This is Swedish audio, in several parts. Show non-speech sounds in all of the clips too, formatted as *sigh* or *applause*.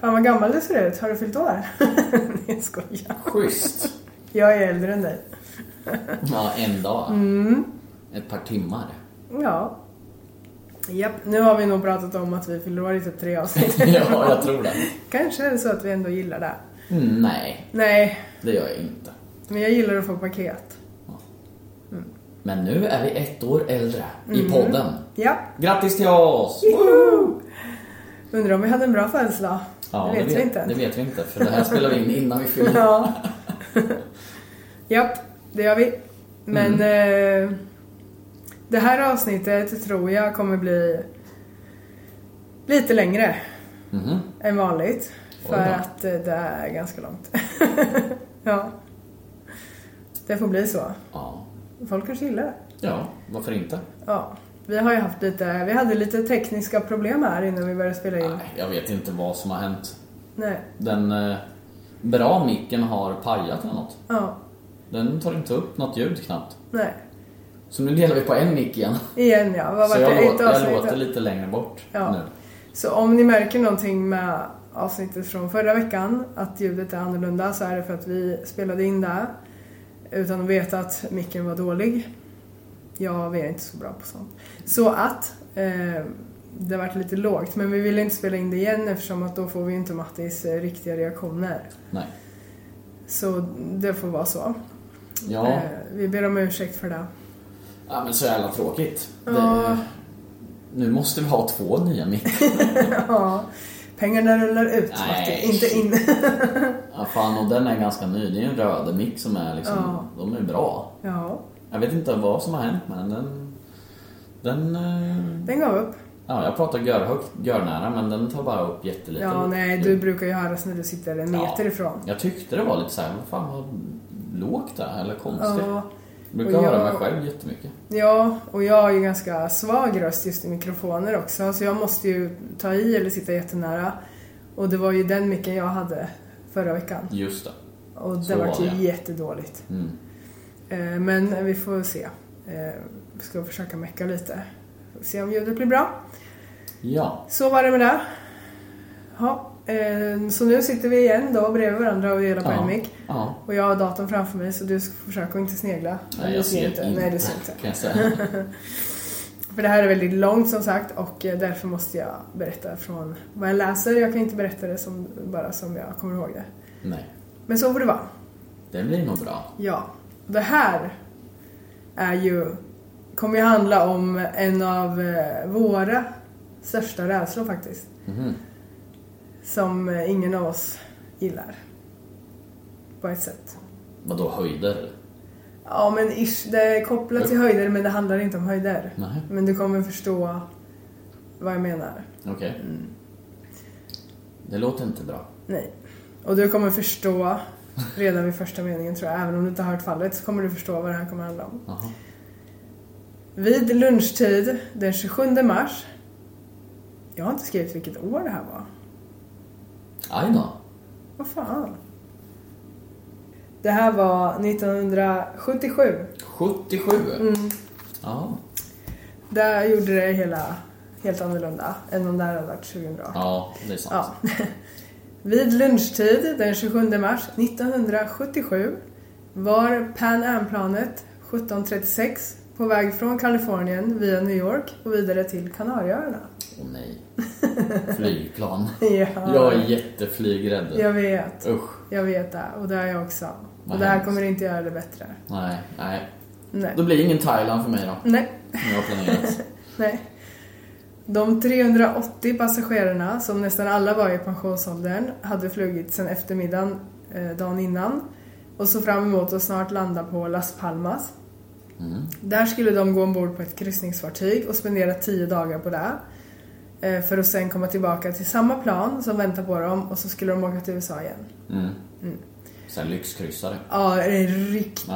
Fan vad gammal du ser ut. Har du fyllt år? *laughs* Nej, jag skojar. Schysst. Jag är äldre än dig. Ja, en dag. Mm. Ett par timmar. *laughs* Ja. Japp, nu har vi nog pratat om att vi fyller år i typ tre avsnitt. *laughs* Ja, jag tror det. Kanske är det så att vi ändå gillar det. Mm, Nej, Nej, det gör jag inte. men jag gillar att få paket. Men nu är vi ett år äldre i Mm. podden. Ja. Grattis till oss! Undrar om vi hade en bra födelsedag? det vet vi inte. Det vet vi inte, för det här spelar vi in innan vi fyller. *laughs* Ja. Japp, det gör vi. Men Mm. eh, det här avsnittet tror jag kommer bli lite längre än vanligt. För Mm-hmm. Oj då. att eh, det är ganska långt. *laughs* ja. Det får bli så. Ja. Folk kanske gillar det. ja, varför inte? Ja. Vi har ju haft lite, vi hade lite tekniska problem här innan vi började spela in. Nej, jag vet inte vad som har hänt. Nej. Den eh, bra micken har pajat eller något. Ja. Den tar inte upp något ljud knappt. Nej. Så nu delar vi på en mick igen. Igen ja. Vad var det? Så jag, Ett låter, jag avsnitt, låter ja. lite längre bort Ja. nu. Så om ni märker någonting med avsnittet från förra veckan, att ljudet är annorlunda, så är det för att vi spelade in det utan att veta att micken var dålig. Ja, vi är inte så bra på sånt. Så att eh, det vart lite lågt, men vi ville inte spela in det igen eftersom att då får vi inte Mattis eh, riktiga reaktioner. Nej. Så det får vara så. Ja. Eh, vi ber om ursäkt för det. Ja men så jävla tråkigt. Det, nu måste vi ha två *laughs* nya mickar. Pengarna rullar ut, Nej, Matti, inte in. Ja, fan och den är ganska ny. Det är en röd mick som är liksom, de är bra. *laughs* ja, Jag vet inte vad som har hänt men den, den, eh, den gav upp. ja jag pratar görhögt, görnära men den tar bara upp jättelite. Ja, nej, du brukar ju höras när du sitter en Ja. meter ifrån. Jag tyckte det var lite såhär, vad fan vad lågt det är, eller konstigt. Ja. Jag brukar Och jag- höra mig själv jättemycket. Ja, och jag har ju ganska svag röst just i mikrofoner också så jag måste ju ta i eller sitta jättenära. Och det var ju den micken jag hade förra veckan. Just det. Och det Så var var ju det. jättedåligt. Mm. Eh, Men vi får se. Eh, Vi ska försöka mecka lite. Får Se om ljudet blir bra. Ja, Så var det med det. Ja, eh, så nu sitter vi igen då bredvid varandra och delar på Ja. en mick. Ja. Och jag har datorn framför mig så du ska försöka att inte snegla. nej, Du jag ser inte. Nej, du ser inte. Kan jag säga. *laughs* För det här är väldigt långt som sagt och eh, därför måste jag berätta från vad jag läser. Jag kan inte berätta det som, bara som jag kommer ihåg det. nej, Men så får det vara. det blir nog bra. Ja. Det här är ju, kommer ju handla om en av eh, våra största rädslor faktiskt. Som eh, ingen av oss gillar. På ett sätt. Vadå höjder? Ja men ish, det är kopplat till höjder men det handlar inte om höjder. Nej. Men du kommer förstå vad jag menar. Okej. Mm. Det låter inte bra. Nej. Och du kommer förstå redan vid första meningen tror jag, även om du inte har hört fallet så kommer du förstå vad det här kommer handla om. Jaha. Vid lunchtid den 27 mars. Jag har inte skrivit vilket år det här var. I know. Vad fan? Det här var 1977. 77? Mm. Ja. Där gjorde det hela helt annorlunda än om det här hade varit 2018. ja, det är sant. Ja. Vid lunchtid den 27 mars 1977 var Pan Am-planet 1736 på väg från Kalifornien via New York och vidare till Kanarieöarna. Åh nej. Flygplan. *laughs* Ja. Jag är jätteflygrädd. Jag vet. Usch. Jag vet det. Och det är jag också. Vad Och det här hemskt. kommer inte göra det bättre. Nej, nej. Nej. Då blir det ingen Thailand för mig då. Nej. Som jag har planerat. Nej. De 380 passagerarna, som nästan alla var i pensionsåldern, hade flugit sedan eftermiddagen eh, dagen innan och så fram emot att snart landa på Las Palmas. Där skulle de gå ombord på ett kryssningsfartyg och spendera tio dagar på det. eh, För att sen komma tillbaka till samma plan som väntar på dem och så skulle de åka till USA igen. Sen lyxkryssare. Ja, en riktig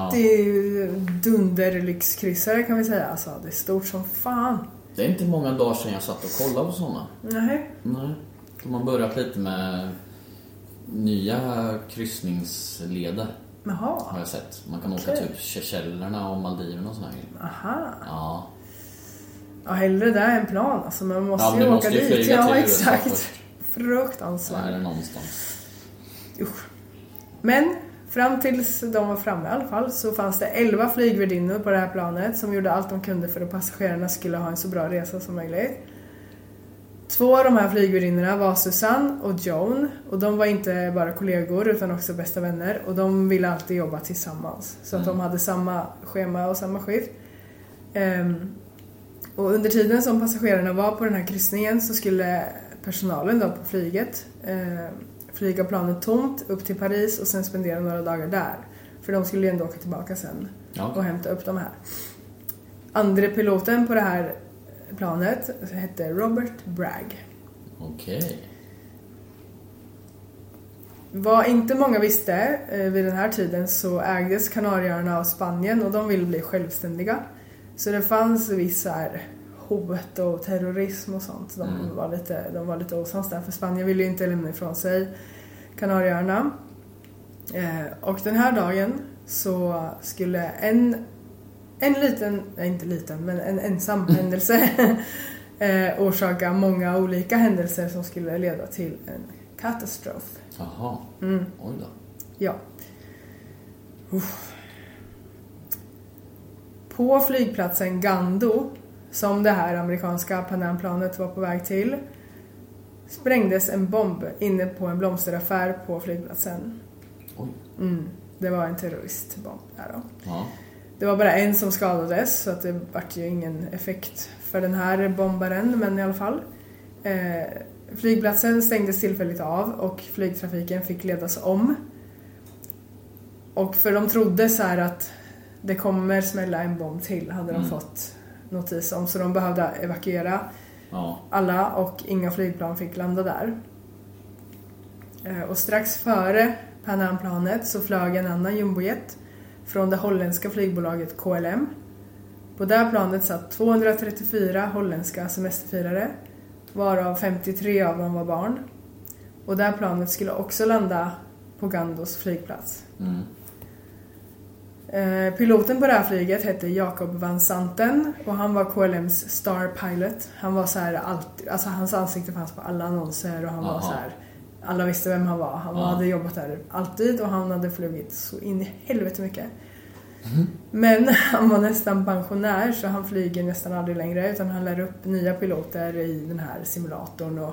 dunderlyxkryssare kan vi säga. Alltså, det är stort som fan. Det är inte många dagar sedan jag satt och kollade på sådana. Nej. Nej. De har börjat lite med nya kryssningsleder. Jaha. Har jag sett. Man kan åka Okej. typ Seychellerna och Maldiverna och sådana grejer. Aha. Ja. Ja, hellre det än plan alltså. Men man måste Ja, men ju du åka måste ju dit. flyga ja, till USA exakt. först. Så är Fruktansvärt. det någonstans. Usch. Men fram tills de var framme i alla fall så fanns det 11 flygvärdinnor på det här planet som gjorde allt de kunde för att passagerarna skulle ha en så bra resa som möjligt. Två av de här flygvärdinnorna var Susanne och Joan och de var inte bara kollegor utan också bästa vänner och de ville alltid jobba tillsammans så att Mm. de hade samma schema och samma skift. Ehm, och under tiden som passagerarna var på den här kryssningen så skulle personalen då på flyget eh, flyga planet tomt upp till Paris och sen spendera några dagar där. För de skulle ju ändå åka tillbaka sen Ja. och hämta upp de här. Andre piloten på det här planet hette Robert Bragg. Okej. Vad inte många visste eh, vid den här tiden så ägdes Kanarieöarna av Spanien och de ville bli självständiga. Så det fanns viss så här hot och terrorism och sånt. De var lite, de var lite osams där för Spanien ville ju inte lämna ifrån sig Kanarieöarna. Eh, och den här dagen så skulle en, en liten, nej inte liten, men en ensam händelse *laughs* eh, orsaka många olika händelser som skulle leda till en katastrof. Jaha. Mm. Oj då. Ja. Uff. På flygplatsen Gando, som det här amerikanska Panamplanet var på väg till, sprängdes en bomb inne på en blomsteraffär på flygplatsen. Oj. Det var en terroristbomb där då. Ja. Det var bara en som skadades så att det vart ju ingen effekt för den här bombaren men i alla fall. Eh, flygplatsen stängdes tillfälligt av och flygtrafiken fick ledas om. Och för de trodde så här att det kommer smälla en bomb till hade de fått notis om så de behövde evakuera Ja. alla och inga flygplan fick landa där. Eh, Och strax före Pan Am-planet så flög en annan jumbojet från det holländska flygbolaget KLM. På det här planet satt 234 holländska semesterfirare varav 53 av dem var barn. Och det här planet skulle också landa på Gandos flygplats. Eh, Piloten på det här flyget hette Jacob Van Santen och han var KLMs Star Pilot. Han var så här alltid, alltså hans ansikte fanns på alla annonser och han var Aha. så här, alla visste vem han var. Han hade jobbat där alltid och han hade flugit så in i helvete mycket. Men *laughs* han var nästan pensionär så han flyger nästan aldrig längre utan han lär upp nya piloter i den här simulatorn och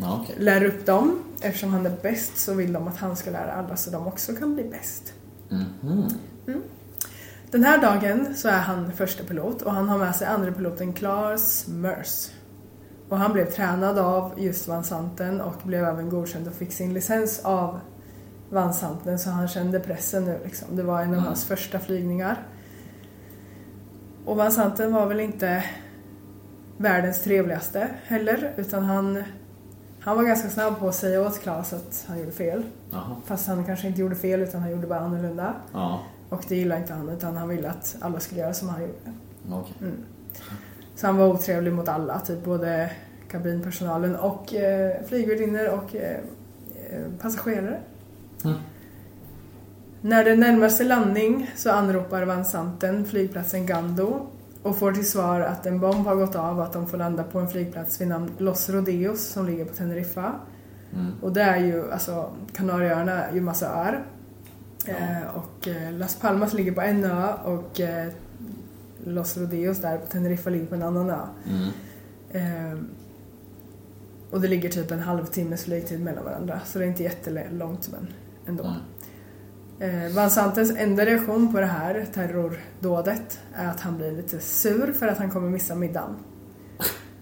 Ja, okej. lär upp dem. Eftersom han är bäst så vill de att han ska lära alla så de också kan bli bäst. Mm. Den här dagen så är han första pilot och han har med sig andra piloten Claes Mers. Och han blev tränad av just Van Santen och blev även godkänd och fick sin licens av Van Santen så han kände pressen nu liksom. Det var en av hans första flygningar. Och Van Santen var väl inte världens trevligaste heller utan han, han var ganska snabb på att säga åt Claes att han gjorde fel. Jaha. Fast han kanske inte gjorde fel utan han gjorde bara annorlunda. Ja. Och det gillade inte han utan han ville att alla skulle göra som han gjorde. Okej. Så han var otrevlig mot alla, typ både kabinpersonalen och eh, flygvärdinnor och eh, eh, passagerare. Mm. När det närmar sig landning så anropar Vansanten flygplatsen Gando och får till svar att en bomb har gått av och att de får landa på en flygplats vid namn Los Rodeos som ligger på Teneriffa. Och det är ju, alltså Kanarieöarna är ju massa öar. Eh, och eh, Las Palmas ligger på en ö och eh, Los Rodeos där på Teneriffa ligger på en annan ö. Eh, och det ligger typ en halvtimmes flygtid mellan varandra så det är inte jättelångt men ändå. Mm. Eh, Van Santens enda reaktion på det här terrordådet är att han blir lite sur för att han kommer missa middagen. *laughs*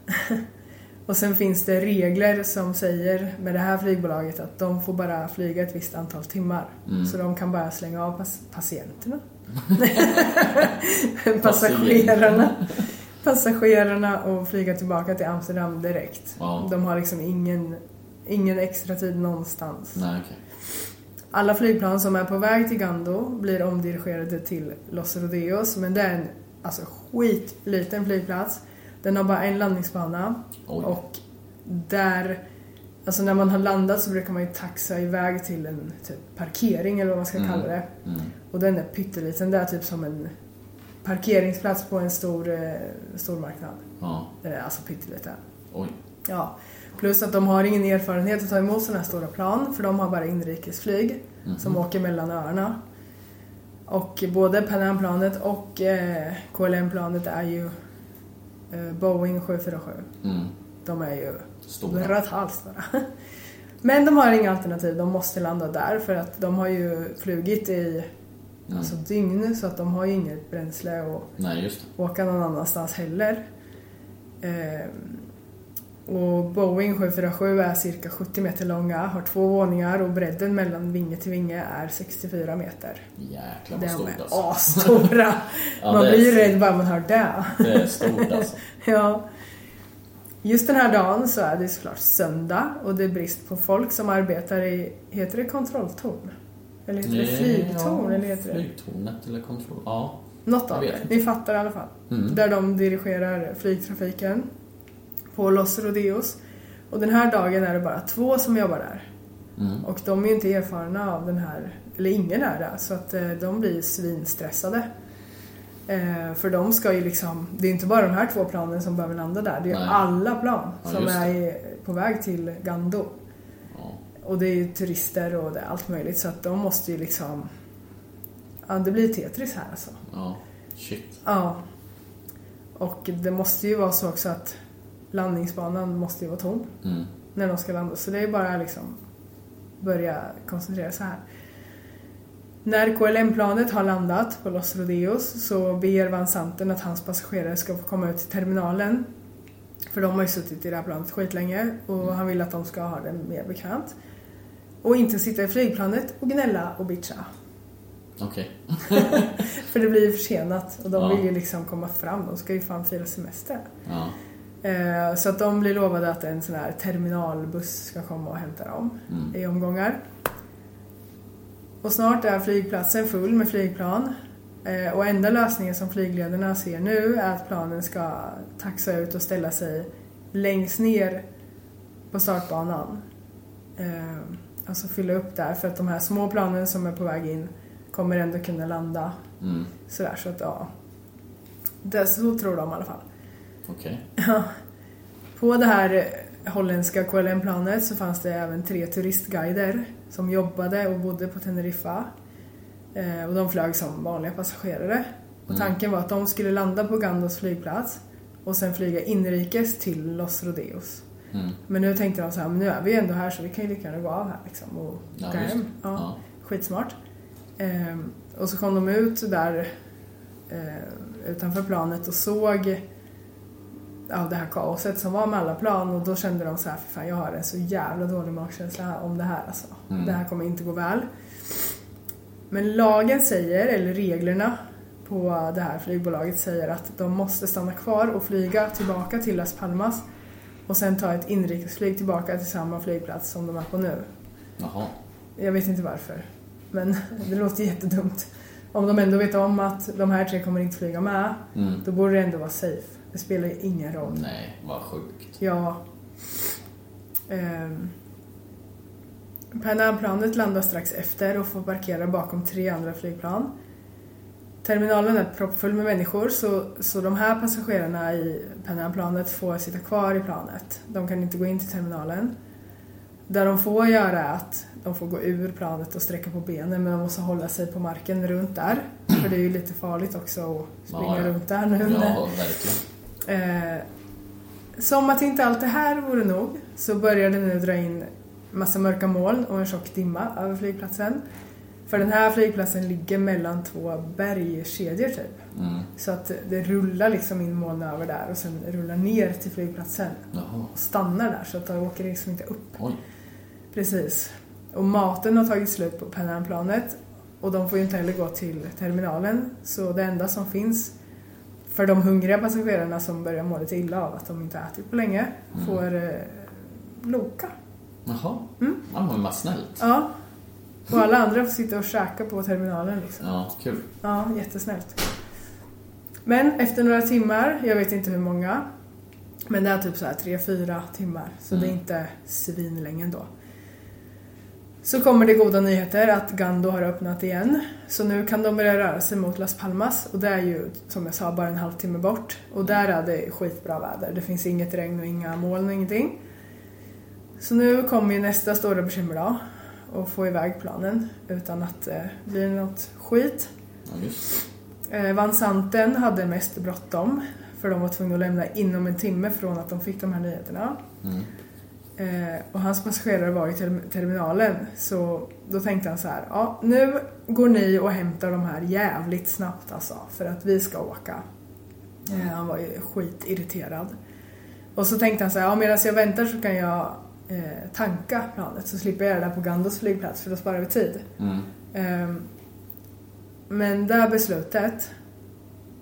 och sen finns det regler som säger med det här flygbolaget att de får bara flyga ett visst antal timmar. Så de kan bara slänga av pas- patienterna. *laughs* Passagerarna. Passagerarna och flyga tillbaka till Amsterdam direkt. Ja. De har liksom ingen, ingen extra tid någonstans. Nej, okej. Alla flygplan som är på väg till Gando blir omdirigerade till Los Rodeos men det är en alltså, skitliten flygplats. Den har bara en landningsbana Oj. och där, alltså när man har landat så brukar man ju taxa iväg till en typ, parkering eller vad man ska Mm. kalla det. Och den är pytteliten, det är typ som en parkeringsplats på en stor, eh, stor marknad. Ja. Den är alltså pytteliten. Oj. Ja, plus att de har ingen erfarenhet att ta emot sådana här stora plan för de har bara inrikesflyg Mhm. som åker mellan öarna. Och både Pan Am-planet och eh, KLM-planet är ju eh, Boeing 747. Mm. De är ju Stora. halstora. *laughs* Men de har inga alternativ, de måste landa där för att de har ju flugit i Mm. alltså, dygn så att de har ju inget bränsle och Nej, just det. åka någon annanstans heller. Ehm, och Boeing 747 är cirka 70 meter långa, har två våningar och bredden mellan vinge till vinge är 64 meter. De Jäklar vad stort är alltså. *laughs* asstora! Ja, man det är blir ju fint. rädd bara man hör det. Det är stort alltså. *laughs* ja. Just den här dagen så är det såklart söndag och det är brist på folk som arbetar i, heter det kontrolltorn? Eller heter det Nej, flygtorn? ja, eller heter det? Flygtornet eller kontroll. Ja. Något Jag av vet det. inte. Mm. Ni fattar i alla fall. Där de dirigerar flygtrafiken på Los Rodeos. Och den här dagen är det bara två som jobbar där. Mm. Och de är ju inte erfarna av den här, eller ingen är det, så att eh, de blir svinstressade. Eh, för de ska ju liksom, det är inte bara de här två planen som behöver landa där, det är ju Nej. alla plan Ja, som just är i- på väg till Gando. Ja. Och det är ju turister och det är allt möjligt så att de måste ju liksom, ja det blir Tetris här alltså. ja. Shit. Ja. Och det måste ju vara så också att landningsbanan måste ju vara tom Mm. när de ska landa. Så det är bara liksom börja koncentrera sig här. När KLM-planet har landat på Los Rodeos så ber Van Santen att hans passagerare ska få komma ut till terminalen. För de har ju suttit i det här planet skitlänge och han vill att de ska ha det mer bekvämt. Och inte sitta i flygplanet och gnälla och bitcha. Okej. För det blir ju försenat och de Ja. vill ju liksom komma fram. De ska ju fan fira semester. Ja. Eh, så att de blir lovade att en sån här terminalbuss ska komma och hämta dem i omgångar. Och snart är flygplatsen full med flygplan. Eh, och enda lösningen som flygledarna ser nu är att planen ska taxa ut och ställa sig längst ner på startbanan. Eh, alltså fylla upp där för att de här små planen som är på väg in kommer ändå kunna landa. Sådär så att ja. Det, så tror de i alla fall. Okej. På det här eh, holländska KLM-planet så fanns det även tre turistguider som jobbade och bodde på Teneriffa. Eh, och de flög som vanliga passagerare. Mm. Och tanken var att de skulle landa på Gandos flygplats och sen flyga inrikes till Los Rodeos. Mm. Men nu tänkte de så här, men nu är vi ju ändå här så vi kan ju lika gärna gå av här liksom och Ja, åka just hem. det. Ja, Ja. Skitsmart. Ehm, och så kom de ut där eh, utanför planet och såg av det här kaoset som var med alla plan och då kände de så här, för fan jag har en så jävla dålig magkänsla om det här alltså. Det här kommer inte gå väl. Men lagen säger, eller reglerna på det här flygbolaget säger att de måste stanna kvar och flyga tillbaka till Las Palmas och sen ta ett inrikesflyg tillbaka till samma flygplats som de är på nu. Jaha. Jag vet inte varför. Men *laughs* det låter jättedumt. Om de ändå vet om att de här tre kommer inte flyga med, då borde det ändå vara safe. Det spelar ju ingen roll. Nej, vad sjukt. Ja. Ehm. Panamplanet landar strax efter och får parkera bakom tre andra flygplan. Terminalen är proppfull med människor så, så de här passagerarna i Panamplanet får sitta kvar i planet. De kan inte gå in till terminalen. Där de får göra är att de får gå ur planet och sträcka på benen men de måste hålla sig på marken runt där. För det är ju lite farligt också att springa Ja, ja. runt där nu. Ja, verkligen. Eh, som att inte allt det här vore nog så började det nu dra in massa mörka moln och en tjock dimma över flygplatsen. För den här flygplatsen ligger mellan två bergskedjor typ. Så att det rullar liksom in moln över där och sen rullar ner till flygplatsen. Jaha. Och stannar där så att de åker liksom inte upp. Oj. Precis. Och maten har tagit slut på Panamplanet och de får ju inte heller gå till terminalen. Så det enda som finns för de hungriga passagerarna som börjar må lite illa av att de inte har ätit på länge får eh, Loka. Jaha. Ja, men vad snällt. Mm. Ja. Och alla andra får sitta och käka på terminalen liksom. Ja, kul. Ja, jättesnällt. Men efter några timmar, jag vet inte hur många, men det är typ så här 3-4 timmar, så det är inte svinlänge ändå. Så kommer det goda nyheter att Gando har öppnat igen. Så nu kan de börja röra sig mot Las Palmas och det är ju, som jag sa, bara en halvtimme bort. Och där är det skitbra väder. Det finns inget regn och inga moln och ingenting. Så nu kommer ju nästa stora bekymmer då. Att få iväg planen utan att det blir något skit. Ja, just Eh, Van Santen hade mest bråttom för de var tvungna att lämna inom en timme från att de fick de här nyheterna. Eh, och hans passagerare var i ter- terminalen så då tänkte han så här, ja nu går ni och hämtar de här jävligt snabbt alltså för att vi ska åka. Eh, han var ju skitirriterad. Och så tänkte han så här, ja medan jag väntar så kan jag eh, tanka planet så slipper jag göra det här på Gandos flygplats för då sparar vi tid. Ehm, men det här beslutet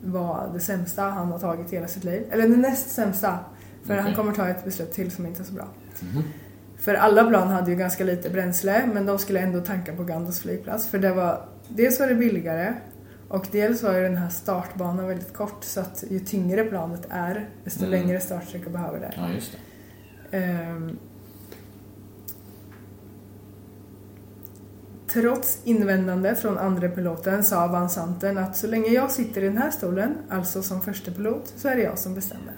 var det sämsta han har tagit i hela sitt liv. Eller det näst sämsta. För Okej. han kommer ta ett beslut till som inte är så bra. För alla plan hade ju ganska lite bränsle men de skulle ändå tanka på Gandos flygplats. För det var, dels var det billigare och dels var ju den här startbanan väldigt kort så att ju tyngre planet är desto längre startsträcka behöver det. det. Ja, just det. Ehm. Trots invändande från andra piloten sa Van Santen att så länge jag sitter i den här stolen, alltså som första pilot, så är det jag som bestämmer.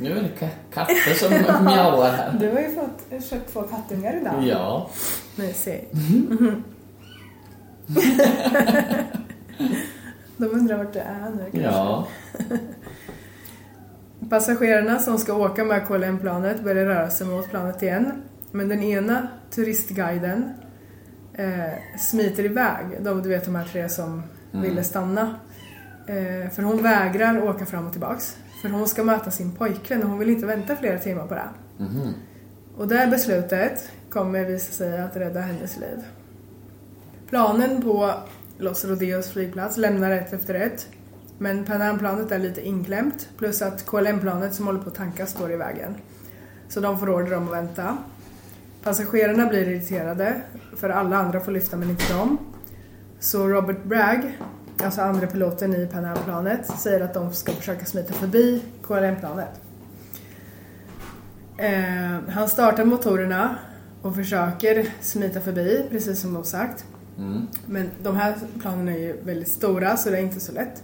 Nu är det ka- katter som *laughs* mjauar här. Du har ju fått, köpt två kattungar idag. Ja. Mysigt. *laughs* De undrar vart du är nu kanske. Ja. Passagerarna som ska åka med KLM-planet börjar röra sig mot planet igen. Men den ena turistguiden eh, smiter iväg. De, du vet de här tre som ville stanna. Eh, för hon vägrar åka fram och tillbaks. För hon ska möta sin pojkvän och hon vill inte vänta flera timmar på det. Och det här beslutet kommer visa sig att rädda hennes liv. Planen på Los Rodeos flygplats lämnar ett efter ett. Men Panam-planet är lite inklämt. Plus att KLM-planet som håller på att tanka står i vägen. Så de får order om att vänta. Passagerarna blir irriterade. För alla andra får lyfta men inte de. Så Robert Bragg, alltså andra piloten i Panam-planet, säger att de ska försöka smita förbi KLM-planet. Eh, han startar motorerna och försöker smita förbi, precis som de sagt. Mm. Men de här planen är ju väldigt stora så det är inte så lätt.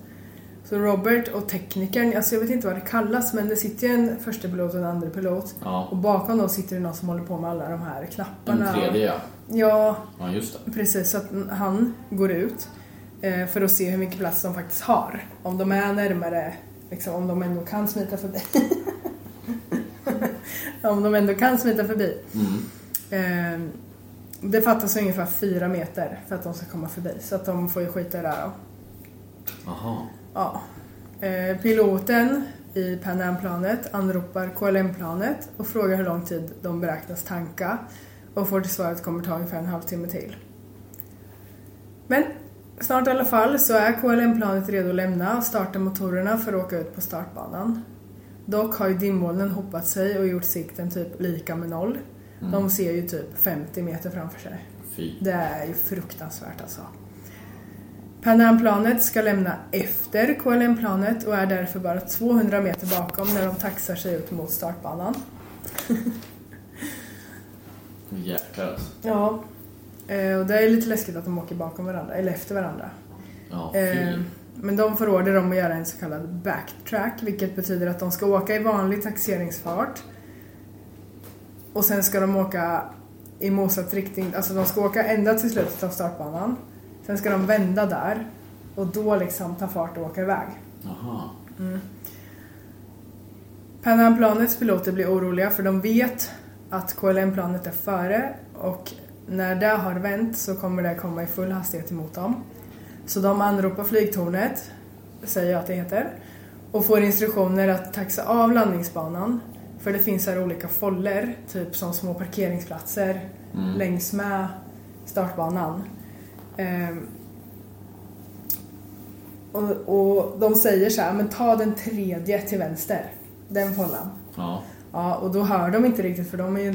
Så Robert och teknikern, alltså jag vet inte vad det kallas men det sitter ju en första pilot och en andra pilot Ja. och bakom dem sitter det någon som håller på med alla de här knapparna. Den tredje, ja. Ja, Ja, just det. Precis, så att han går ut eh, för att se hur mycket plats de faktiskt har. Om de är närmare, liksom, om de ändå kan smita förbi. *laughs* om de ändå kan smita förbi. Eh, det fattas ungefär fyra meter för att de ska komma förbi, så att de får ju skita i det här då. Jaha. Ja. Eh, Piloten i Pan Am-planet anropar KLM-planet och frågar hur lång tid de beräknas tanka och får till svar att det kommer ta ungefär en halvtimme till. Men snart i alla fall så är KLM-planet redo att lämna och starta motorerna för att åka ut på startbanan. Dock har ju dimmolnen hopat sig och gjort sikten typ lika med noll. De ser ju typ 50 meter framför sig. Fy. Det är ju fruktansvärt alltså. Pan Am-planet ska lämna efter KLM-planet och är därför bara 200 meter bakom när de taxar sig ut mot startbanan. Jäklar alltså. Ja. Eh, Och det är lite läskigt att de åker bakom varandra, eller efter varandra. Ja, Eh, fy. Men de får order om att göra en så kallad backtrack vilket betyder att de ska åka i vanlig taxeringsfart och sen ska de åka i motsatt riktning, alltså de ska åka ända till slutet av startbanan. Sen ska de vända där och då liksom ta fart och åka iväg. Jaha. Pan Am-planets piloter blir oroliga för de vet att KLM-planet är före och när det har vänt så kommer det komma i full hastighet emot dem. Så de anropar flygtornet, säger jag att det heter, och får instruktioner att taxa av landningsbanan. För det finns här olika foller, typ som små parkeringsplatser längs med startbanan. Ehm, och, och de säger så här, men ta den tredje till vänster, den follan. Ja. Ja, och då hör de inte riktigt för de är ju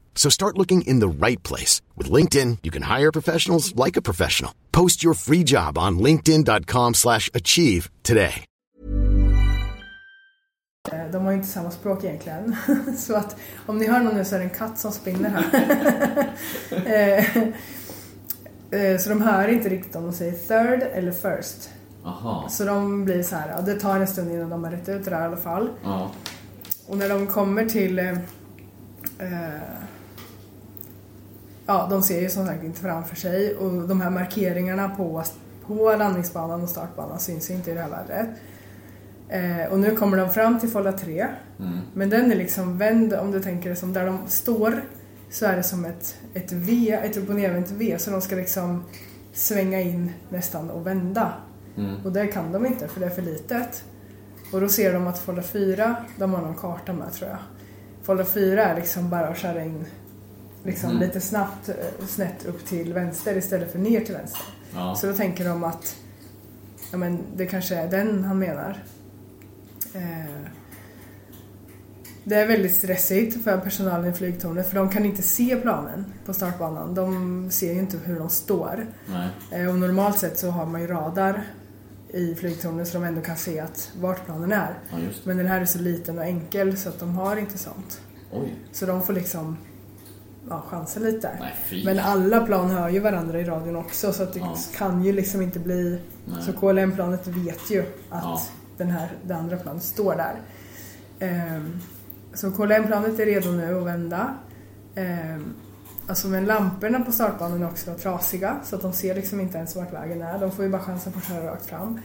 So start looking in the right place. With LinkedIn, you can hire professionals like a professional. Post your free job on linkedin.com slash achieve today. Eh, De har ju inte samma språk egentligen. *laughs* Så att om ni hör någon nu så är det en katt som spinner här. *laughs* Eh, eh, så de hör inte riktigt om de säger third eller first. Aha. Så de blir så här, ja, det tar en stund innan de har rätt ut det där i alla fall. Ja. Och när de kommer till... Eh, eh, ja, de ser ju som sagt inte framför sig och de här markeringarna på, på landningsbanan och startbanan syns ju inte i det här vädret. Eh, och nu kommer de fram till fålla 3. Men den är liksom vänd, om du tänker det som där de står så är det som ett, ett V, ett upp och nervänt V så de ska liksom svänga in nästan och vända. Och det kan de inte för det är för litet. Och då ser de att Folder 4, de har någon karta med tror jag. Folder 4 är liksom bara att köra in liksom lite snabbt eh, snett upp till vänster istället för ner till vänster. Ja. Så då tänker de att ja, men det kanske är den han menar. Eh, det är väldigt stressigt för personalen i flygtornet för de kan inte se planen på startbanan. De ser ju inte hur de står. Nej. Eh, Och normalt sett så har man ju radar i flygtornet så de ändå kan se att vart planen är. Ja, just det. Men den här är så liten och enkel så att de har inte sånt. Oj. Så de får liksom ja, chansa lite. Nej, fy. Men alla plan hör ju varandra i radion också så att det Ja. kan ju liksom inte bli... Nej. Så KLM-planet vet ju att Ja. den här, det andra planet står där. Ehm, så KLM-planet är redo nu att vända. Ehm, alltså men lamporna på startbanan är också trasiga så att de ser liksom inte ens vart vägen är. De får ju bara chansen på att köra rakt fram.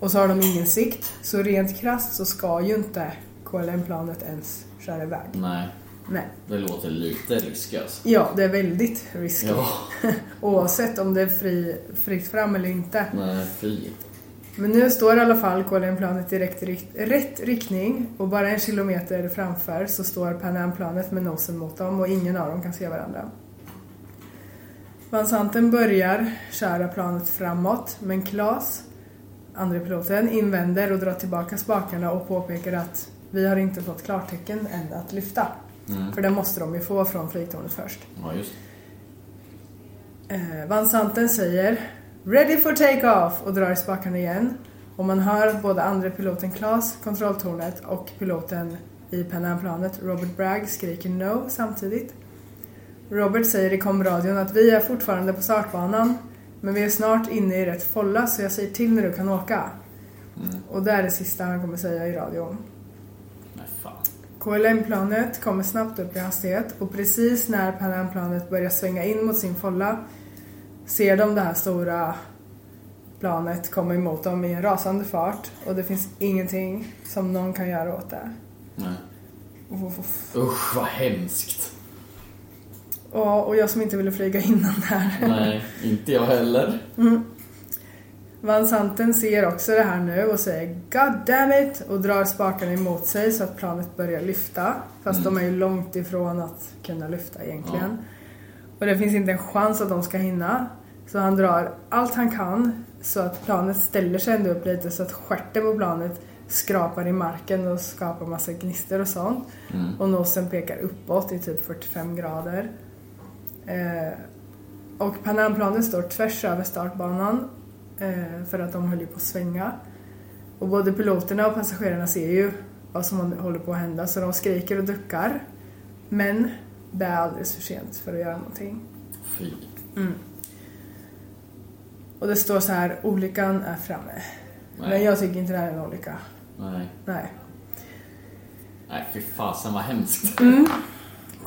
Och så har de ingen sikt. Så rent krasst så ska ju inte KLM-planet ens köra iväg. Nej. Nej. Det låter lite risky alltså. Ja, det är väldigt risky. Ja. *laughs* Oavsett om det är fri, fritt fram eller inte. Nej, fy. Men nu står i alla fall KLM-planet i rätt, rikt- rätt riktning och bara en kilometer framför så står Pan Am-planet med nosen mot dem och ingen av dem kan se varandra. Vansanten börjar köra planet framåt men Claes, andre piloten, invänder och drar tillbaka spakarna och påpekar att vi har inte fått klartecken än att lyfta. För det måste de ju få från flygtornet först. Ja, just Eh, Van Santen säger “Ready for take-off” och drar i spakarna igen. Och man hör både andra piloten Claes, kontrolltornet och piloten i Pan Am-planet Robert Bragg skriker “No” samtidigt. Robert säger i komradion att vi är fortfarande på startbanan men vi är snart inne i rätt folla så jag säger till när du kan åka. Och det är det sista han kommer säga i radion. Nej, fan. KLM-planet kommer snabbt upp i hastighet och precis när Pan Am-planet börjar svänga in mot sin folla ser de det här stora planet komma emot dem i en rasande fart och det finns ingenting som någon kan göra åt det. Nej. Uff. Usch, vad hemskt. Och, och jag som inte ville flyga innan där. Nej, inte jag heller. Van Santen ser också det här nu och säger God damn it! och drar spakarna emot sig så att planet börjar lyfta. Fast de är ju långt ifrån att kunna lyfta egentligen. Och det finns inte en chans att de ska hinna. Så han drar allt han kan så att planet ställer sig ändå upp lite så att stjärten på planet skrapar i marken och skapar massa gnistor och sånt. Och nosen pekar uppåt i typ 45 grader. Eh, och Pan Am-planen står tvärs över startbanan eh, för att de höll ju på att svänga. Och både piloterna och passagerarna ser ju vad som håller på att hända så de skriker och duckar. Men det är alldeles för sent för att göra någonting. Fy. Och det står så här, olyckan är framme. Nej. Men jag tycker inte det här är en olycka. Nej. Nej. Nej, fy fasen vad hemskt. Mm.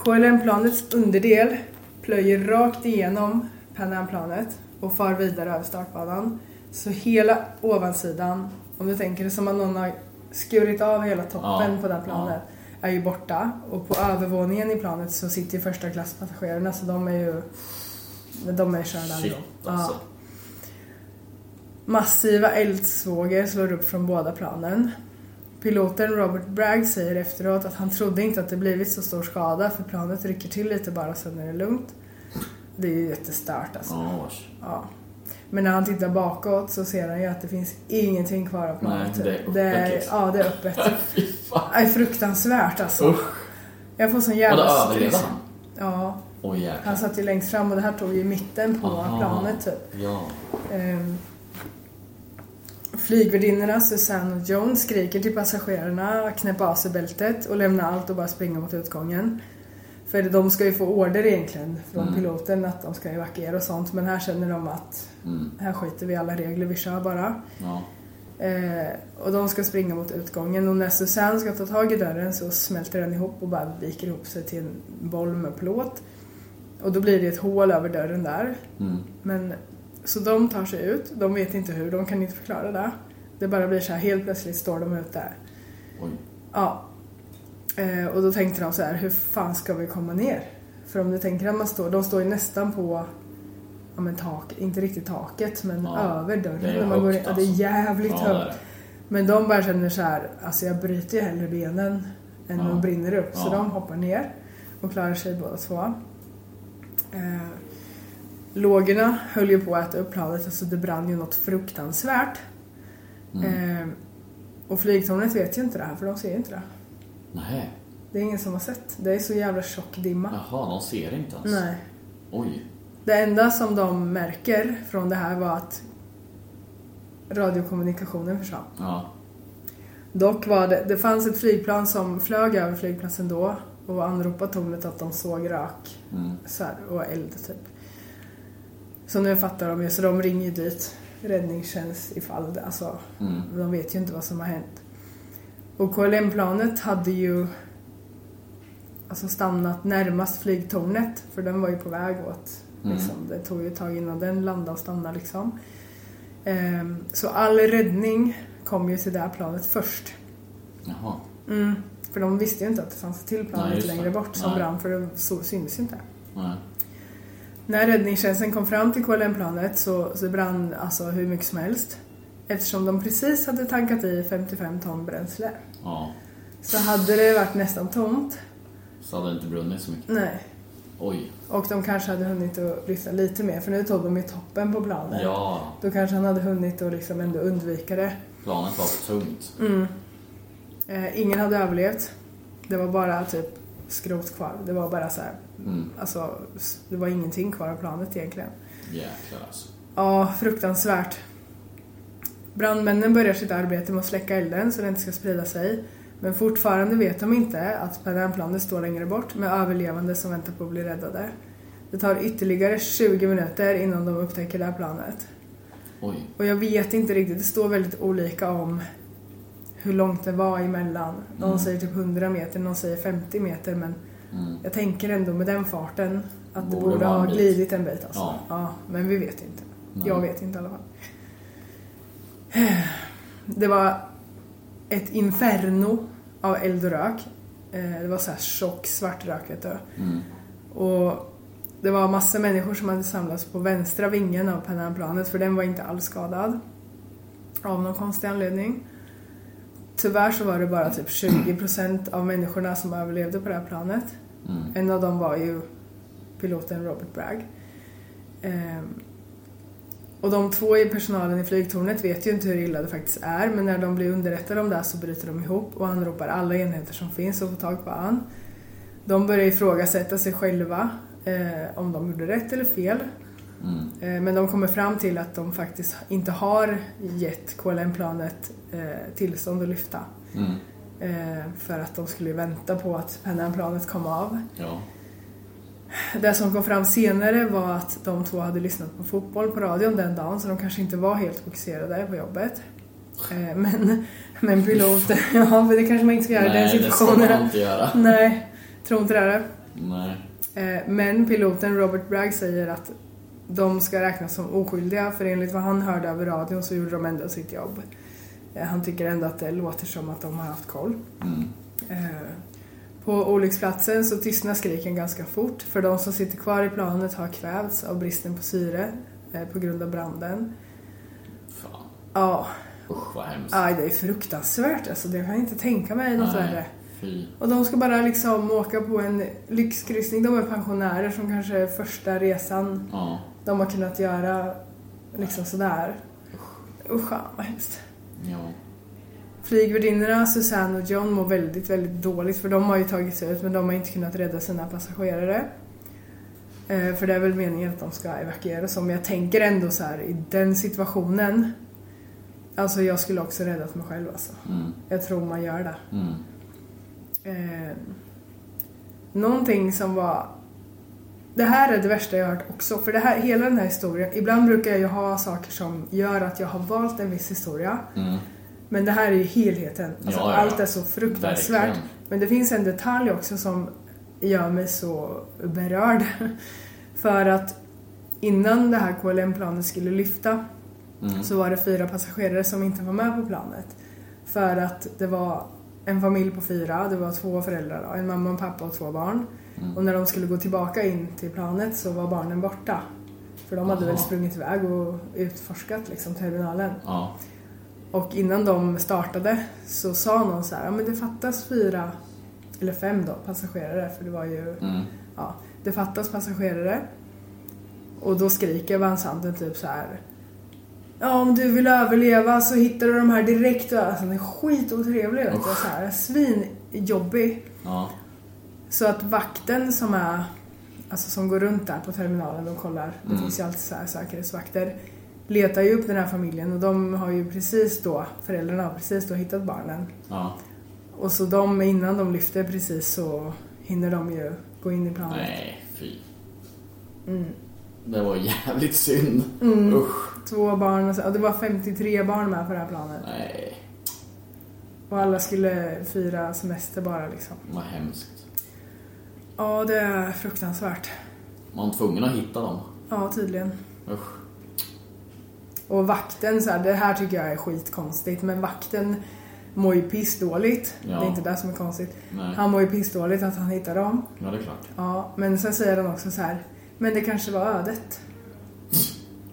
KLM-planets underdel plöjer rakt igenom Pan Am-planet och far vidare över startbanan. Så hela ovansidan, om du tänker det som att någon har skurit av hela toppen Ja, på det här planet, är ju borta. Och på övervåningen i planet så sitter ju första klasspassagerarna så de är ju... De är körda Shit, ändå. Ja. alltså. Massiva eldsvågor slår upp från båda planen. Piloten Robert Bragg säger efteråt att han trodde inte att det blivit så stor skada för planet rycker till lite bara sen är det lugnt. Det är ju jättestört alltså. Ja, vars. Ja. Men när han tittar bakåt så ser han ju att det finns ingenting kvar av planet. Nej, det är det är, öppet. liksom. Ja, det är öppet. *laughs* Fy fan. Det är fruktansvärt alltså. Usch. Jag får sån Och då jävla liksom. överlevde stress. han. Ja, Oj, han jäklar. satt ju längst fram och det här tog ju i mitten på Aha. planet typ. Ja. Ehm, Flygvärdinnorna Susanne och Joan skriker till passagerarna att knäppa av sig bältet och lämna allt och bara springa mot utgången. För de ska ju få order egentligen från piloten att de ska evakuera och sånt men här känner de att här skiter vi i alla regler, vi kör bara. Ja. Eh, och de ska springa mot utgången och när Susanne ska ta tag i dörren så smälter den ihop och bara viker ihop sig till en boll med plåt. Och då blir det ett hål över dörren där. Mm. Men, så de tar sig ut, de vet inte hur, de kan inte förklara det. Det bara blir så här, helt plötsligt står de ute. Oj. Ja. Eh, och då tänkte de så här, hur fan ska vi komma ner? För om du tänker att man står, de står ju nästan på, ja men tak, inte riktigt taket, men Ja, över dörren. det är när man går in, högt ja, det är alltså. jävligt Ja, det är högt. Men de bara känner så här, alltså jag bryter ju hellre benen än Ja. de brinner upp. Så Ja. de hoppar ner och klarar sig båda två. Eh, lågorna höll ju på att äta upp planet, alltså det brann ju något fruktansvärt. Mm. Eh, och flygtornet vet ju inte det här, för de ser ju inte det. Nej. Det är ingen som har sett. Det är så jävla tjock dimma. Jaha, de ser inte ens. Nej. Oj. Det enda som de märker från det här var att radiokommunikationen försvann. Ja. Dock var det, det fanns ett flygplan som flög över flygplatsen då och anropade tornet att de såg rök så här, och eld typ. Så nu fattar de ju, så de ringer ju dit räddningstjänst ifall det, alltså de vet ju inte vad som har hänt. Och KLM-planet hade ju alltså stannat närmast flygtornet för den var ju på väg åt, liksom. det tog ju ett tag innan den landade och stannade liksom. Ehm, Så all räddning kom ju till det här planet först. Jaha. För de visste ju inte att det fanns ett till plan Nej, lite just det. längre bort som Nej. brann för det så- syntes ju inte. Nej. När räddningstjänsten kom fram till KLM-planet så, så brann alltså hur mycket som helst. Eftersom de precis hade tankat i 55 ton bränsle Ja. så hade det varit nästan tomt. Så hade det inte brunnit så mycket. Nej. Oj. Och de kanske hade hunnit att lyfta lite mer för nu tog de ju toppen på planet. Ja. Då kanske han hade hunnit att liksom ändå undvika det. Planet var för tungt. Eh, ingen hade överlevt. Det var bara typ skrot kvar. Det var bara så här, Mm. alltså, s- det var ingenting kvar av planet egentligen. Jäklar alltså. Ja, fruktansvärt. Brandmännen börjar sitt arbete med att släcka elden så den inte ska sprida sig. Men fortfarande vet de inte att Panamplanet står längre bort med överlevande som väntar på att bli räddade. Det tar ytterligare 20 minuter innan de upptäcker det här planet. Oj. Och jag vet inte riktigt, det står väldigt olika om hur långt det var emellan. Någon Mm. säger typ 100 meter, någon säger 50 meter men jag tänker ändå med den farten att det Borde borde, vara ha en bit. glidit en bit alltså. Ja. Ja. men vi vet inte. Jag vet inte i alla fall. Det var ett inferno av eld och rök. Eh, Det var så här tjock svart rök vet du. Och det var massor människor som hade samlats på vänstra vingen av Panamplanet för den var inte alls skadad. Av någon konstig anledning. Tyvärr så var det bara typ 20% av människorna som överlevde på det här planet. En av dem var ju piloten Robert Bragg. Ehm, och de två i personalen i flygtornet vet ju inte hur illa det faktiskt är men när de blir underrättade om det här så bryter de ihop och anropar alla enheter som finns och får tag på Ann. De börjar ifrågasätta sig själva eh, om de gjorde rätt eller fel. Mm. Eh, men de kommer fram till att de faktiskt inte har gett KLM-planet eh, tillstånd att lyfta. Mm. Eh, för att de skulle ju vänta på att Pennant-planet kom av. Ja. Det som kom fram senare var att de två hade lyssnat på fotboll på radion den dagen så de kanske inte var helt fokuserade på jobbet. Eh, Men, men piloten, *laughs* ja men det kanske man inte ska göra i den Nej, det ska man situationen. inte göra. Nej, tror inte det. Är. Nej. Eh, Men piloten Robert Bragg säger att de ska räknas som oskyldiga för enligt vad han hörde över radion så gjorde de ändå sitt jobb. Eh, Han tycker ändå att det låter som att de har haft koll. Mm, Eh, På olycksplatsen så tystnar skriken ganska fort för de som sitter kvar i planet har kvävts av bristen på syre eh, på grund av branden. Fan. Ja, Usch vad hemskt. aj, det är fruktansvärt alltså. Det kan jag inte tänka mig något Nej, värre. Fy. Och de ska bara liksom åka på en lyxkryssning. De är pensionärer som kanske är första resan Ja. de har kunnat göra liksom sådär. Usch, fan vad hemskt. Ja. Flygvärdinnorna Susanne och John mår väldigt, väldigt dåligt för de har ju tagit sig ut men de har inte kunnat rädda sina passagerare. Eh, för det är väl meningen att de ska evakueras om. Jag tänker ändå så här i den situationen. Alltså jag skulle också räddat mig själv alltså. Mm. Jag tror man gör det. Eh, någonting som var... Det här är det värsta jag har hört också. För det här, hela den här historien. Ibland brukar jag ju ha saker som gör att jag har valt en viss historia. Men det här är ju helheten. Alltså, Mm. Ja, ja, ja. Allt är så fruktansvärt. Verkligen. Men det finns en detalj också som gör mig så berörd. *laughs* För att innan det här KLM-planet skulle lyfta så var det fyra passagerare som inte var med på planet. För att det var en familj på fyra, det var två föräldrar, då, en mamma, en pappa och två barn. Och när de skulle gå tillbaka in till planet så var barnen borta. För de hade väl sprungit iväg och utforskat liksom, terminalen. Ja. Och innan de startade så sa någon så här, ja men det fattas fyra, eller fem då, passagerare för det var ju, ja, det fattas passagerare. Och då skriker Van Santen typ så här, ja om du vill överleva så hittar du de här direkt. Alltså den är skitotrevlig vet du, så här, svinjobbig. Ja. Så att vakten som är Alltså som går runt där på terminalen och kollar. Det finns ju alltid så här säkerhetsvakter. Letar ju upp den här familjen och de har ju precis då, föräldrarna har precis då hittat barnen. Ja. Och så de, innan de lyfter precis så hinner de ju gå in i planet. Nej, fy. Mm. Det var jävligt synd. Usch. Två barn och så, ja, det var 53 barn med på det här planet. Nej, Och alla skulle fira semester bara liksom. vad hemskt. Ja, det är fruktansvärt. Man var tvungen att hitta dem. Ja, tydligen. Usch. Och vakten, så här, det här tycker jag är skitkonstigt, men vakten mår ju pissdåligt. Ja. Det är inte det som är konstigt. Nej. Han mår ju pissdåligt att han hittar dem. Ja, det är klart. Ja, men sen säger han också så här, men det kanske var ödet.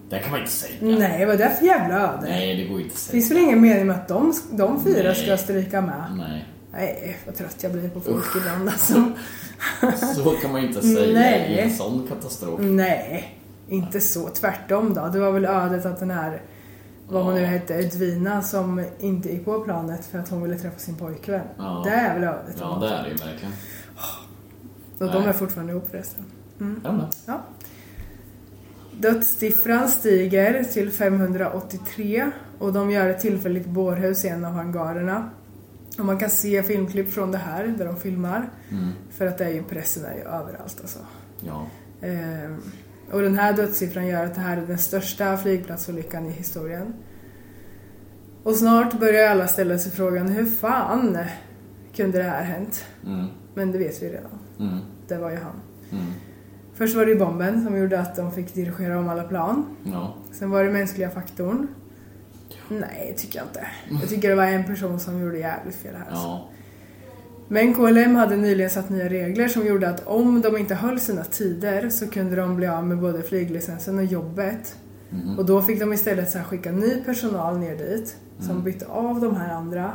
Det kan man inte säga. Nej, vad är det för jävla öde? Nej, det går inte att Det säga. finns väl ingen mening med att de, de fyra Nej. Mm. ska stryka med? Nej, Nej, vad trött jag blir på folk ibland alltså. så kan man inte säga Nej. Mm, i en sån katastrof. Nej, inte så. Tvärtom då. Det var väl ödet att den här vad hon nu hette, Edvina som inte gick på planet för att hon ville träffa sin pojkvän. Ja. Det är väl övrigt. Ja, det är det ju verkligen. Och de Nej. är fortfarande ihop förresten. Är de det? Mm. Ja. Dödssiffran stiger till 583 och de gör ett tillfälligt bårhus i en av hangarerna. Och man kan se filmklipp från det här, där de filmar. För att det är ju, pressen är ju överallt alltså. Ja. Ehm, och den här dödssiffran gör att det här är den största flygplatsolyckan i historien. Och snart börjar alla ställa sig frågan, hur fan kunde det här hänt? Men det vet vi redan. Det var ju han. Först var det ju bomben som gjorde att de fick dirigera om alla plan. Ja. Sen var det mänskliga faktorn. Nej, tycker jag inte. Jag tycker det var en person som gjorde jävligt fel här. alltså. Ja. Men KLM hade nyligen satt nya regler som gjorde att om de inte höll sina tider så kunde de bli av med både flyglicensen och jobbet. Och då fick de istället så här skicka ny personal ner dit som bytte av de här andra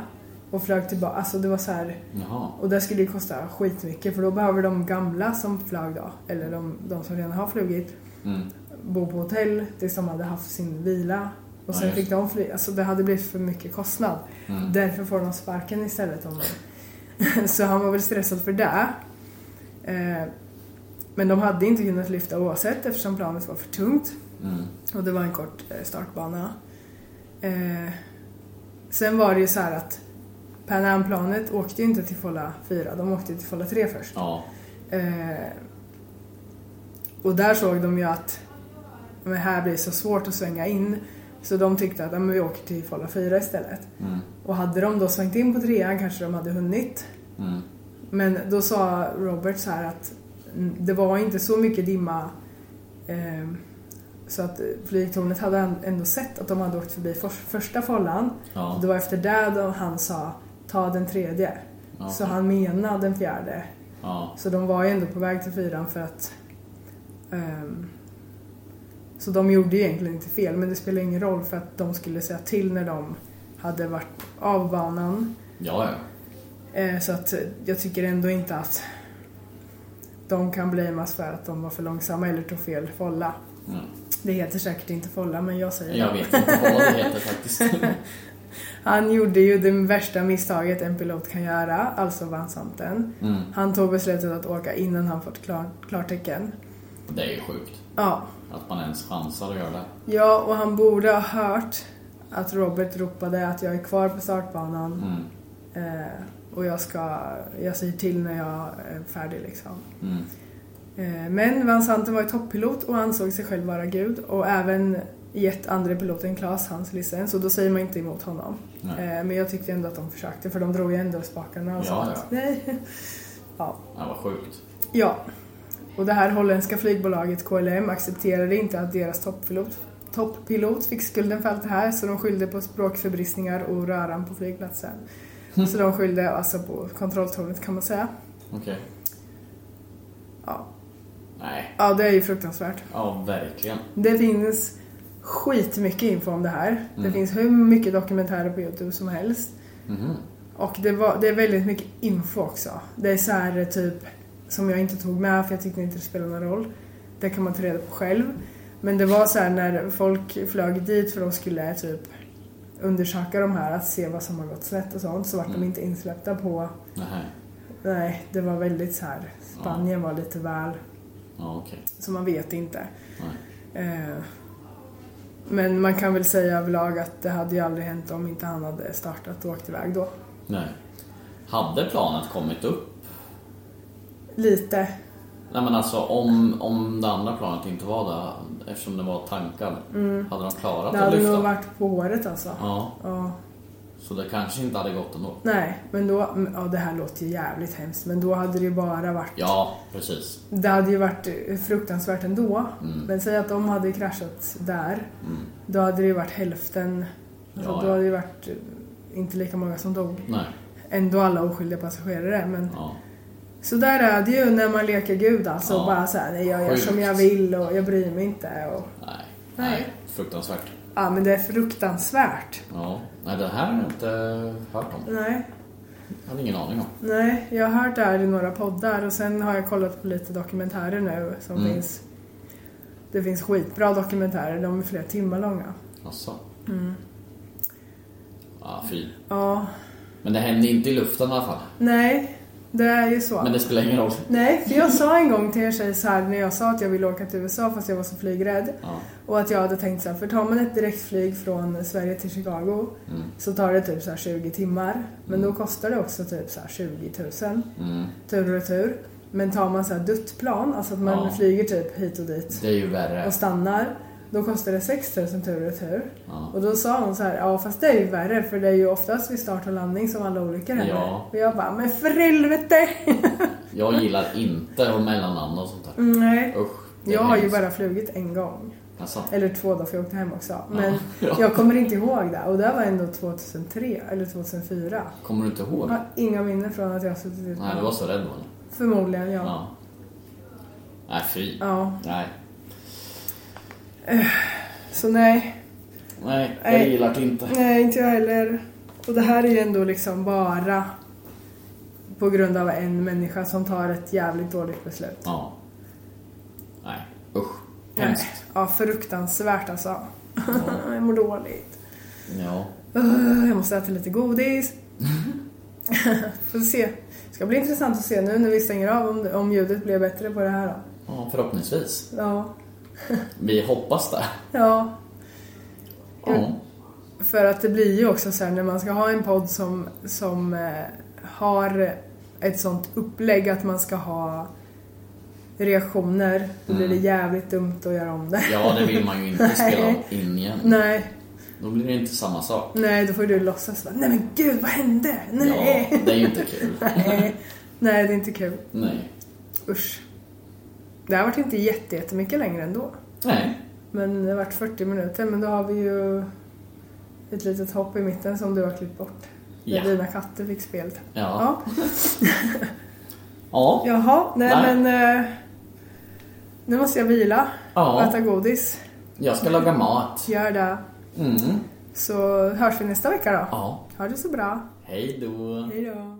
och flög tillbaka. Alltså det var så här... Jaha. Och det skulle ju kosta skitmycket för då behöver de gamla som flög då, eller de, de som redan har flugit, bo på hotell tills de hade haft sin vila. Och sen just fick de fly. Alltså det hade blivit för mycket kostnad. Därför får de sparken istället. Om de. *laughs* Så han var väl stressad för det. Eh, Men de hade inte kunnat lyfta oavsett eftersom planet var för tungt. Och det var en kort eh, startbana. Eh, Sen var det ju så här att Pan Am-planet åkte ju inte till Folla 4, de åkte till Folla 3 först. Ja. Eh, och där såg de ju att men här blir det så svårt att svänga in så de tyckte att ja, men vi åker till Folla 4 istället. Och hade de då svängt in på trean kanske de hade hunnit. Men då sa Robert så här att mm, det var inte så mycket dimma eh, så att flygtornet hade ändå sett att de hade åkt förbi för, första follan. Ja. Och det var efter det då han sa ta den tredje. Så han menade den fjärde. Ja. Så de var ju ändå på väg till fyran för att... ehm, så de gjorde ju egentligen inte fel men det spelar ingen roll för att de skulle säga till när de hade varit av banan. Ja, ja. Eh, så att eh, jag tycker ändå inte att de kan blamas för att de var för långsamma eller tog fel folla. Det heter säkert inte folla men jag säger Mm. Jag det. vet inte vad det heter faktiskt. *laughs* Han gjorde ju det värsta misstaget en pilot kan göra, alltså vansanten. Mm. Han tog beslutet att åka innan han fått klar, klartecken. Det är ju sjukt. Ja, Att man ens chansar att göra det. Ja, och han borde ha hört att Robert ropade att jag är kvar på startbanan Mm. eh, och jag, ska, jag säger till när jag är färdig liksom. Mm. Eh, men Van Santen var ju toppilot och ansåg sig själv vara gud och även gett andre piloten Claes hans licens och då säger man inte emot honom. Eh, men jag tyckte ändå att de försökte för de drog ju ändå i spakarna och sa Ja, att ja. nej. ja. Ja, vad sjukt. Ja, och det här holländska flygbolaget KLM accepterade inte att deras toppilot, toppilot fick skulden för allt det här så de skyllde på språkförbristningar och röran på flygplatsen. Så de skyllde alltså på kontrolltornet kan man säga. Okej. Ja. Nej. Ja, det är ju fruktansvärt. Ja, verkligen. Det finns skitmycket info om det här. Det finns hur mycket dokumentärer på Youtube som helst. Och det, var, det är väldigt mycket info också. Det är så här eh, typ som jag inte tog med för jag tyckte inte det spelade någon roll. Det kan man ta reda på själv. Men det var så här när folk flög dit för de skulle typ undersöka de här, att se vad som har gått snett och sånt, så vart de inte insläppta på... Nej. Nej, det var väldigt så här. Spanien var lite väl... Ja, okej. Så man vet inte. Nej. Eh, Men man kan väl säga överlag att det hade ju aldrig hänt om inte han hade startat och åkt iväg då. Nej. Hade planet kommit upp? Lite. Nej men alltså om, om det andra planet inte var där, eftersom det var tankar, hade de klarat Mm. Det att hade lyfta? nog varit på håret alltså. Ja, Ja. så det kanske inte hade gått ändå. Nej, men då... Ja, det här låter ju jävligt hemskt men då hade det ju bara varit... Ja, precis. Det hade ju varit eh, fruktansvärt ändå. Mm. Men säg att de hade kraschat där. Då hade det ju varit hälften. Alltså, Ja, då ja. hade det ju varit eh, inte lika många som dog. Nej. Ändå alla oskyldiga passagerare men... Ja. Så där är det ju när man leker gud alltså. Ja. Bara så här, nej, jag gör Sjukt. som jag vill och jag bryr mig inte. Och... Nej. Nej. Fruktansvärt. Ja, men det är fruktansvärt. Ja. Nej, det här har jag inte hört om. Nej, Jag hade ingen aning om. nej. Jag har hört det här i några poddar och sen har jag kollat på lite dokumentärer nu Mm. som finns. Det finns skitbra dokumentärer, de är flera timmar långa. Alltså. Ja, fy. Mm. Ja. Men det hände inte i luften i alla fall. Nej, det är ju så. Men det spelar ingen roll. Nej, för jag sa en gång till er tjej så här när jag sa att jag ville åka till USA fast jag var så flygrädd. Ja. Och att jag hade tänkt så här, för tar man ett direktflyg från Sverige till Chicago Mm. så tar det typ så här 20 timmar. Men då kostar det också typ så här 20 000 Mm. tur och retur. Men tar man så här duttplan, alltså att man Ja. flyger typ hit och dit Det är ju värre. och stannar. Då kostar det 6 000 tur och retur. Ja. Och då sa hon så här, ja fast det är ju värre för det är ju oftast vid start och landning som alla olyckor händer. Ja. Och jag bara, men för helvete! *laughs* Jag gillar inte och mellannamn och sånt där. Mm. Nej. Usch. det är Jag har ju hemskt. bara flugit en gång. Alltså, Eller två dagar för jag åkte hem också. Men ja. jag kommer inte ihåg det. Och det var ändå 2003 eller 2004. kommer du inte ihåg? Jag har inga minnen från att jag har suttit ute. Nej, du var så rädd var du? Förmodligen, ja. Ja. Nej, fy. Ja. Nej. Så nej, Nej, jag Nej. gillar det inte. nej, inte jag heller. Och det här är ju ändå liksom bara på grund av en människa som tar ett jävligt dåligt beslut. Ja. Nej, usch. Nej. Hemskt. Ja, fruktansvärt alltså. *laughs* jag mår dåligt. Ja. Ugh, Eh, Jag måste äta lite godis. *laughs* Får se. Det ska bli intressant att se nu när vi stänger av om, om ljudet blir bättre på det här då. ja, förhoppningsvis. Ja. Vi hoppas det. Mm. Ja. Ja. För att det blir ju också så här när man ska ha en podd som, som eh, har ett sånt upplägg att man ska ha reaktioner. Då blir det jävligt dumt att göra om det. Mm. ja, det vill man ju inte spela in igen. *laughs* Nej, Då blir det inte samma sak. nej, då får du låtsas bara, nej men gud vad hände? Nej. Ja, det är ju inte kul. nej. *laughs* nej, det är inte kul. Nej. Usch. Det har varit inte jätte- jättemycket längre ändå. Nej. Men det har varit 40 minuter, men då har vi ju ett litet hopp i mitten som du har klippt bort. När Ja. dina katter fick spelet. Ja. Ja. Jaha, nej, Nej. men... eh, nu måste jag vila Ja. och äta godis. Jag ska laga mat. Gör det. Mm. Så hörs vi nästa vecka då. Ja. Ha det så bra. Hej då. Hej då.